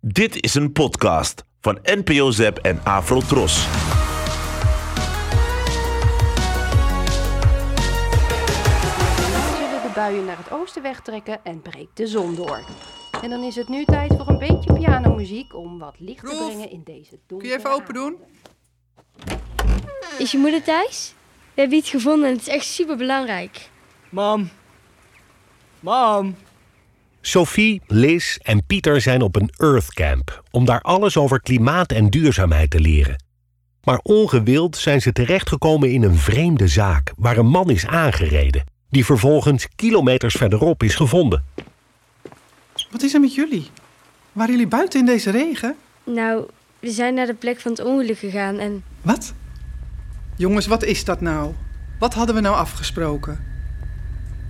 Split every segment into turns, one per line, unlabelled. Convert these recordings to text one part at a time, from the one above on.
Dit is een podcast van NPO Zep en Afrotros.
zullen de buien naar het oosten wegtrekken en breekt de zon door. En dan is het nu tijd voor een beetje pianomuziek om wat licht te
Roelof,
brengen in deze donkere
Kun je even open doen?
Is je moeder thuis? We hebben iets gevonden en het is echt super belangrijk.
Mam. Mam.
Sophie, Liz en Pieter zijn op een Earth Camp om daar alles over klimaat en duurzaamheid te leren. Maar ongewild zijn ze terechtgekomen in een vreemde zaak waar een man is aangereden, die vervolgens kilometers verderop is gevonden.
Wat is er met jullie? Waren jullie buiten in deze regen?
Nou, we zijn naar de plek van het ongeluk gegaan en
Wat? Jongens, wat is dat nou? Wat hadden we nou afgesproken?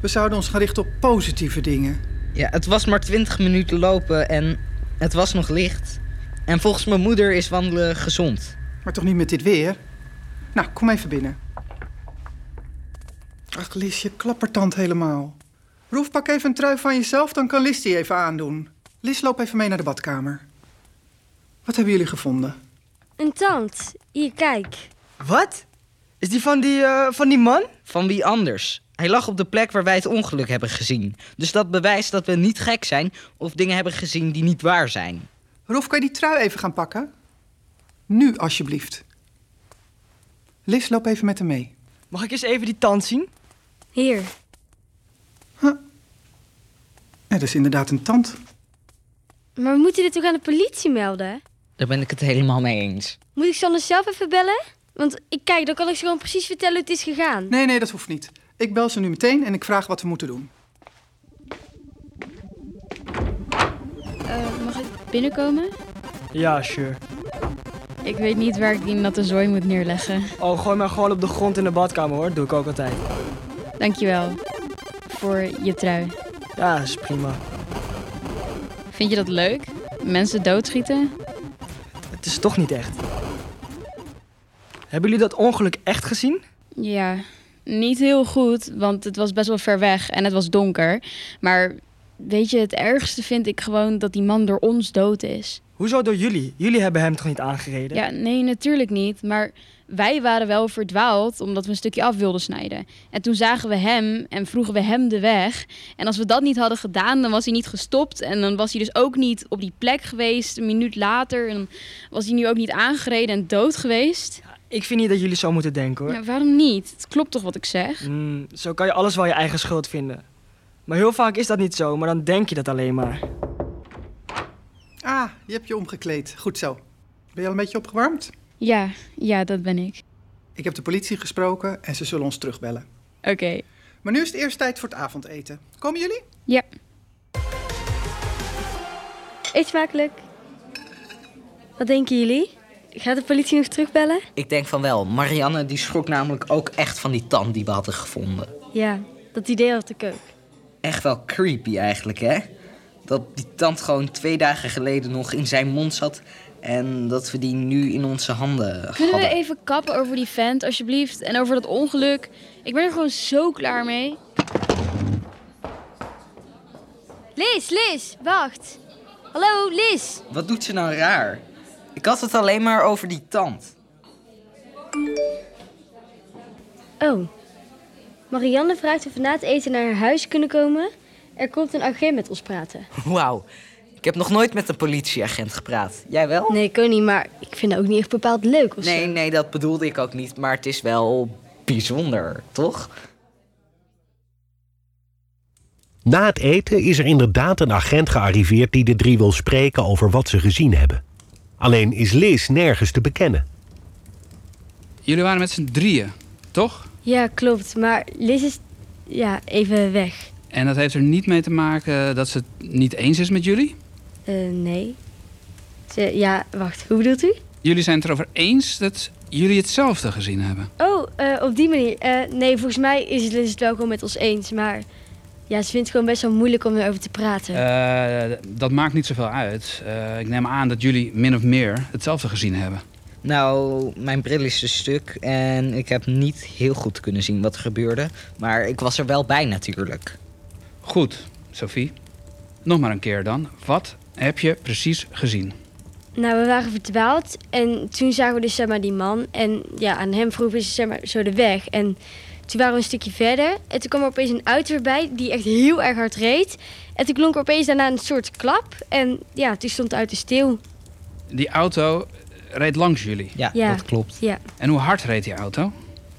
We zouden ons gaan richten op positieve dingen.
Ja, het was maar 20 minuten lopen en het was nog licht. En volgens mijn moeder is wandelen gezond.
Maar toch niet met dit weer? Nou, kom even binnen. Ach, Lis, je klappertand helemaal. Roef, pak even een trui van jezelf, dan kan Lis die even aandoen. Lis, loop even mee naar de badkamer. Wat hebben jullie gevonden?
een tand. Hier, kijk.
Wat? Is die van die, eh, van die man?
Van wie anders? Hij lag op de plek waar wij het ongeluk hebben gezien. Dus dat bewijst dat we niet gek zijn of dingen hebben gezien die niet waar zijn.
Roef, kan je die trui even gaan pakken? Nu, alsjeblieft. Lis, loop even met hem mee.
Mag ik eens even die tand zien?
Hier.
Ja, dat is inderdaad een tand.
Maar we moeten dit toch aan de politie melden?
Daar ben ik het helemaal mee eens.
Moet ik Sander zelf even bellen? Want ik kijk, dan kan ik ze gewoon precies vertellen hoe het is gegaan.
Nee, nee, dat hoeft niet. Ik bel ze nu meteen en ik vraag wat we moeten doen.
Eh, mag ik binnenkomen?
Ja, sure.
Ik weet niet waar ik die natte zooi moet neerleggen.
Oh, gooi maar gewoon op de grond in de badkamer hoor. Doe ik ook altijd.
Dankjewel. Voor je trui.
Ja, is prima.
Vind je dat leuk? Mensen doodschieten?
Het is toch niet echt. Hebben jullie dat ongeluk echt gezien?
Ja, niet heel goed, want het was best wel ver weg en het was donker. Maar weet je, het ergste vind ik gewoon dat die man door ons dood is.
Hoezo door jullie? Jullie hebben hem toch niet aangereden?
Ja, nee, natuurlijk niet. Maar wij waren wel verdwaald omdat we een stukje af wilden snijden. En toen zagen we hem en vroegen we hem de weg. En als we dat niet hadden gedaan, dan was hij niet gestopt. En dan was hij dus ook niet op die plek geweest een minuut later. En dan was hij nu ook niet aangereden en dood geweest.
Ik vind niet dat jullie zo moeten denken hoor.
Ja, waarom niet? Het klopt toch wat ik zeg?
Mm, zo kan je alles wel je eigen schuld vinden. Maar heel vaak is dat niet zo, maar dan denk je dat alleen maar.
Ah, je hebt je omgekleed. Goed zo. Ben je al een beetje opgewarmd?
Ja, ja, dat ben ik.
Ik heb de politie gesproken en ze zullen ons terugbellen.
Oké.
Maar nu is het eerst tijd voor het avondeten. Komen jullie?
Ja.
Eet smakelijk. Wat denken jullie? Gaat de politie nog terugbellen?
Ik denk van wel. Marianne die schrok namelijk ook echt van die tand die we hadden gevonden.
Ja, dat idee had ik ook.
Echt wel creepy eigenlijk, hè? Dat die tand gewoon twee dagen geleden nog in zijn mond zat en dat we die nu in onze handen
Kunnen we
hadden.
even kappen over die vent, alsjeblieft? En over dat ongeluk? Ik ben er gewoon zo klaar mee.
Liz, Liz, wacht. Hallo, Liz.
Wat doet ze nou raar? Ik had het alleen maar over die tand.
Oh. Marianne vraagt of we na het eten naar haar huis kunnen komen. Er komt een agent met ons praten.
Wauw. Ik heb nog nooit met een politieagent gepraat. Jij wel?
Nee, ik ook niet, maar ik vind het ook niet echt bepaald leuk of zo.
Nee, nee, dat bedoelde ik ook niet. Maar het is wel bijzonder, toch?
Na het eten is er inderdaad een agent gearriveerd die de drie wil spreken over wat ze gezien hebben. Alleen is Liz nergens te bekennen.
Jullie waren met z'n drieën, toch?
Ja, klopt. Maar Liz is ja, even weg.
En dat heeft er niet mee te maken dat ze het niet eens is met jullie?
Eh, nee. Ze, ja, wacht. Hoe bedoelt u?
Jullie zijn het erover eens dat jullie hetzelfde gezien hebben.
Oh, eh, op die manier. Eh, nee, volgens mij is Liz het wel gewoon met ons eens. Maar ja, ze vindt het gewoon best wel moeilijk om erover te praten.
Eh, dat maakt niet zoveel uit. Eh, ik neem aan dat jullie min of meer hetzelfde gezien hebben.
Nou, mijn bril is een stuk en ik heb niet heel goed kunnen zien wat er gebeurde. Maar ik was er wel bij natuurlijk.
Goed, Sophie. Nog maar een keer dan. Wat heb je precies gezien?
Nou, we waren verdwaald en toen zagen we dus zeg maar, die man. En ja, aan hem vroegen we zeg maar, zo de weg. En toen waren we een stukje verder. En toen kwam er opeens een auto voorbij die echt heel erg hard reed. En toen klonk er opeens daarna een soort klap. En ja, toen stond de auto stil.
Die auto reed langs jullie.
Ja,
Ja.
dat klopt.
En hoe hard reed die auto? Mm.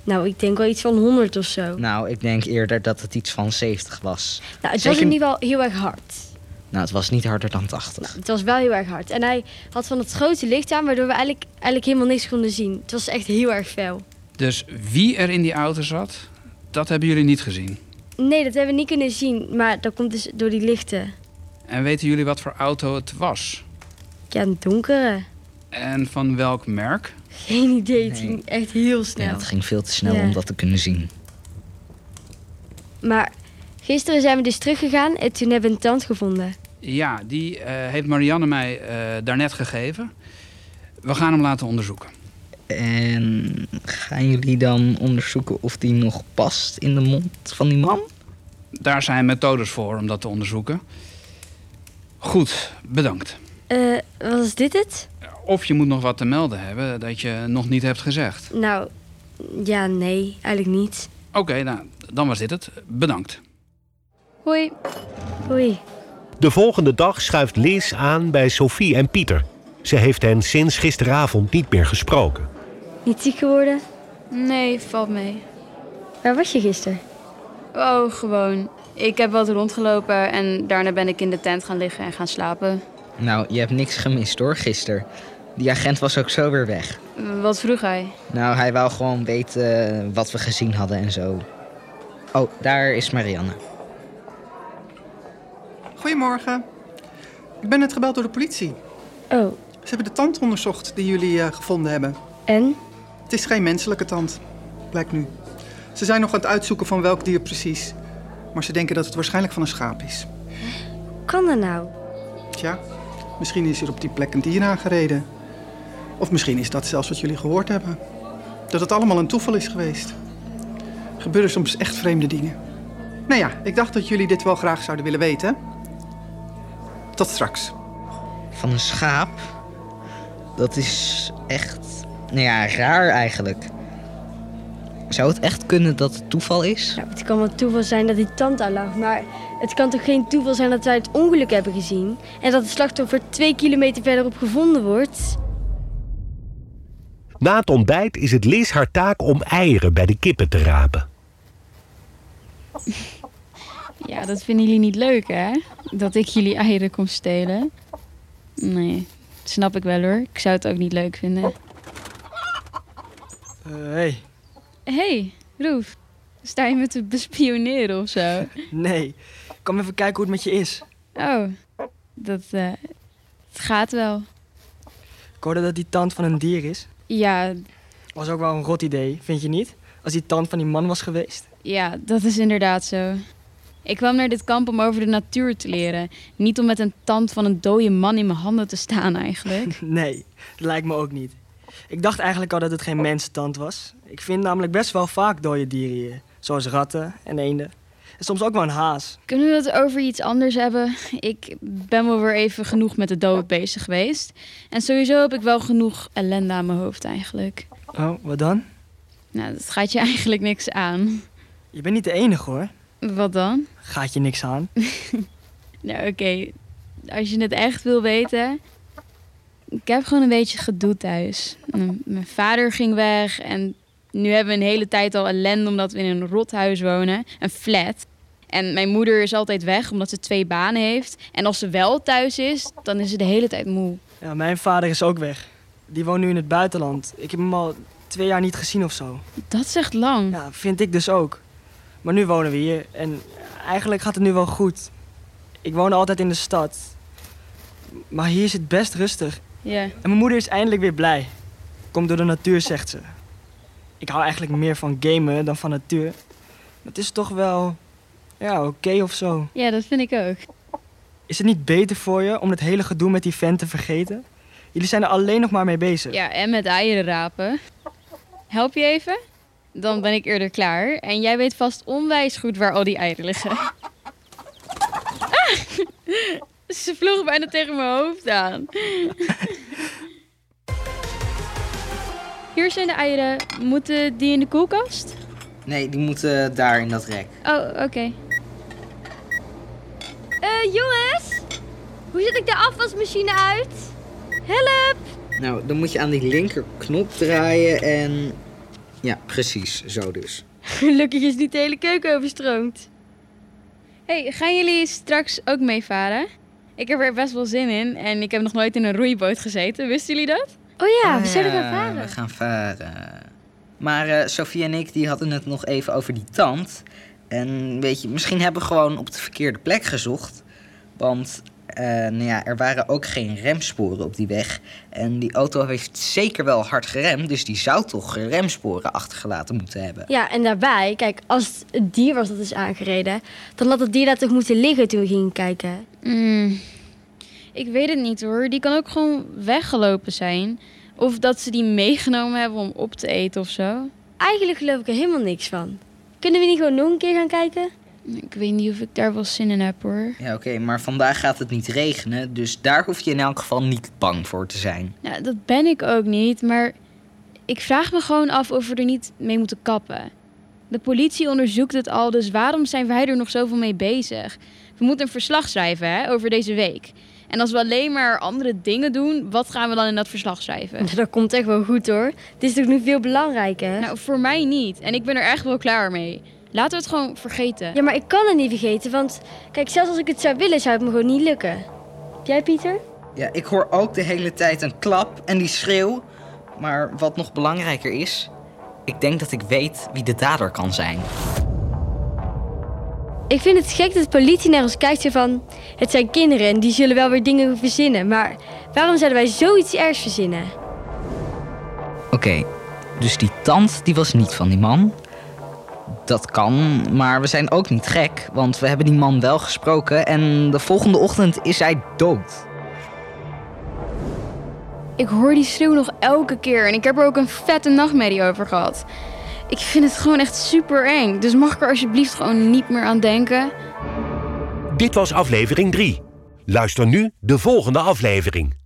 Nou, ik denk wel iets van 100 of zo. Nou,
Nou, ik denk eerder dat het iets van 70 was.
het was
zeker-
in ieder geval heel erg hard.
Nou, het was niet harder dan 80.
Het was wel heel erg hard. En hij had van het grote licht aan, waardoor we eigenlijk, eigenlijk helemaal niks konden zien. Het was echt heel erg fel.
Dus wie er in die auto zat, dat hebben jullie niet gezien.
Nee, dat hebben we niet kunnen zien, maar dat komt dus door die lichten.
En weten jullie wat voor auto het was?
Ja, een donkere.
En van welk merk?
Geen idee, het ging echt heel
Nee,
snel.
dat ging veel te snel
Ja.
om dat te kunnen zien.
Maar gisteren zijn we dus teruggegaan en toen hebben we een tand gevonden.
Ja, die eh, heeft Marianne mij eh, daarnet gegeven. We gaan hem laten onderzoeken.
En gaan jullie dan onderzoeken of die nog past in de mond van die man?
Daar zijn methodes voor om dat te onderzoeken. Goed, bedankt.
Eh, was dit het?
Of je moet nog wat te melden hebben dat je nog niet hebt gezegd.
Nou, ja, nee, eigenlijk niet.
Oké, nou, dan was dit het. Bedankt.
Hoi,
Oei.
De volgende dag schuift Liz aan bij Sophie en Pieter. Ze heeft hen sinds gisteravond niet meer gesproken.
Niet ziek geworden?
nee, valt mee.
Waar was je gisteren?
Oh, gewoon. Ik heb wat rondgelopen en daarna ben ik in de tent gaan liggen en gaan slapen.
Nou, je hebt niks gemist hoor, gisteren. Die agent was ook zo weer weg.
Wat vroeg hij?
Nou, hij wou gewoon weten eh, wat we gezien hadden en zo. Oh, daar is Marianne.
Goedemorgen. Ik ben net gebeld door de politie.
Oh,
Ze hebben de tand onderzocht die jullie eh, gevonden hebben.
en?
Het is geen menselijke tand, blijkt nu. Ze zijn nog aan het uitzoeken van welk dier precies. Maar ze denken dat het waarschijnlijk van een schaap is.
Kan dat nou?
Tja, misschien is er op die plek een dier aangereden. Of misschien is dat zelfs wat jullie gehoord hebben. Dat het allemaal een toeval is geweest. Gebeuren soms echt vreemde dingen. Nou ja, ik dacht dat jullie dit wel graag zouden willen weten. Tot straks.
Van een schaap? Dat is echt. Nou ja, raar eigenlijk. Zou het echt kunnen dat het toeval is?
Nou, het kan wel toeval zijn dat die tand aan lag, maar het kan toch geen toeval zijn dat wij het ongeluk hebben gezien en dat het slachtoffer twee kilometer verderop gevonden wordt?
Na het ontbijt is het Liz haar taak om eieren bij de kippen te rapen.
Ja, dat vinden jullie niet leuk, hè? Dat ik jullie eieren kom stelen. Nee, snap ik wel hoor. Ik zou het ook niet leuk vinden.
Eh, hey,
Hé, hey, Roef. Sta je me te bespioneren of zo?
nee. Kom even kijken hoe het met je is.
Oh, dat eh, het gaat wel.
Ik hoorde dat die tand van een dier is.
Ja,
Was ook wel een rot idee, vind je niet? Als die tand van die man was geweest.
ja, dat is inderdaad zo. Ik kwam naar dit kamp om over de natuur te leren. Niet om met een tand van een dode man in mijn handen te staan eigenlijk.
Nee, dat lijkt me ook niet. Ik dacht eigenlijk al dat het geen mensentand was. Ik vind namelijk best wel vaak dode dieren hier. Zoals ratten en eenden. En soms ook wel een haas.
Kunnen we het over iets anders hebben? Ik ben wel weer even genoeg met de dood bezig geweest. En sowieso heb ik wel genoeg ellende aan mijn hoofd eigenlijk.
Oh, wat dan?
Nou, dat gaat je eigenlijk niks aan.
Je bent niet de enige hoor.
Wat dan?
Gaat je niks aan.
Nou, oké. Als je het echt wil weten. Ik heb gewoon een beetje gedoe thuis. M- Mijn vader ging weg en nu hebben we een hele tijd al ellende omdat we in een rothuis wonen, een flat. En mijn moeder is altijd weg omdat ze twee banen heeft. En als ze wel thuis is, dan is ze de hele tijd moe.
Ja, mijn vader is ook weg. Die woont nu in het buitenland. Ik heb hem al twee jaar niet gezien of zo.
Dat zegt lang.
Ja, vind ik dus ook. Maar nu wonen we hier en eigenlijk gaat het nu wel goed. Ik woon altijd in de stad. Maar hier is het best rustig.
Ja.
En mijn moeder is eindelijk weer blij. Komt door de natuur, zegt ze. Ik hou eigenlijk meer van gamen dan van natuur. Maar het is toch wel... Ja, oké of zo.
ja, dat vind ik ook.
Is het niet beter voor je om het hele gedoe met die vent te vergeten? Jullie zijn er alleen nog maar mee bezig.
Ja, en met eieren rapen. Help je even? Dan ben ik eerder klaar. En jij weet vast onwijs goed waar al die eieren liggen. Ah! Ze vloog bijna tegen mijn hoofd aan. Hier zijn de eieren. Moeten die in de koelkast?
Nee, die moeten daar in dat rek.
Oh, oké.
Eh, jongens, hoe zet ik de afwasmachine uit? Help!
Nou, dan moet je aan die linkerknop draaien en... Ja, precies. Zo dus.
Gelukkig is niet de hele keuken overstroomd.
hey, gaan jullie straks ook meevaren? Ik heb er best wel zin in en ik heb nog nooit in een roeiboot gezeten. Wisten jullie dat?
Oh ja, we zullen
Ja,
gaan varen.
We gaan varen. Maar eh, Sophie en ik die hadden het nog even over die tand. En weet je, misschien hebben we gewoon op de verkeerde plek gezocht. Want eh, nou ja, er waren ook geen remsporen op die weg. En die auto heeft zeker wel hard geremd. Dus die zou toch remsporen achtergelaten moeten hebben.
Ja, en daarbij, kijk, als het dier was dat is aangereden, dan had het dier daar toch moeten liggen toen we gingen kijken.
Mm, Ik weet het niet hoor. Die kan ook gewoon weggelopen zijn. Of dat ze die meegenomen hebben om op te eten of zo.
Eigenlijk geloof ik er helemaal niks van. Kunnen we niet gewoon nog een keer gaan kijken?
Ik weet niet of ik daar wel zin in heb hoor.
Ja, oké, maar vandaag gaat het niet regenen. Dus daar hoef je in elk geval niet bang voor te zijn.
Nou, dat ben ik ook niet, maar ik vraag me gewoon af of we er niet mee moeten kappen. De politie onderzoekt het al, dus waarom zijn wij er nog zoveel mee bezig? We moeten een verslag schrijven hè, over deze week. En als we alleen maar andere dingen doen, wat gaan we dan in dat verslag schrijven?
Dat komt echt wel goed hoor. Het is toch nu veel belangrijker?
Nou, voor mij niet. En ik ben er echt wel klaar mee. Laten we het gewoon vergeten.
Ja, maar ik kan het niet vergeten, want kijk, zelfs als ik het zou willen, zou het me gewoon niet lukken. Jij, Pieter?
Ja, ik hoor ook de hele tijd een klap en die schreeuw. Maar wat nog belangrijker is, ik denk dat ik weet wie de dader kan zijn.
Ik vind het gek dat de politie naar ons kijkt zo van... Het zijn kinderen en die zullen wel weer dingen verzinnen. Maar waarom zouden wij zoiets ergs verzinnen?
Oké, dus die tand die was niet van die man. Dat kan, maar we zijn ook niet gek, want we hebben die man wel gesproken en de volgende ochtend is hij dood.
Ik hoor die schreeuw nog elke keer en ik heb er ook een vette nachtmerrie over gehad. Ik vind het gewoon echt super eng. Dus mag ik er alsjeblieft gewoon niet meer aan denken?
Dit was aflevering 3. Luister nu de volgende aflevering.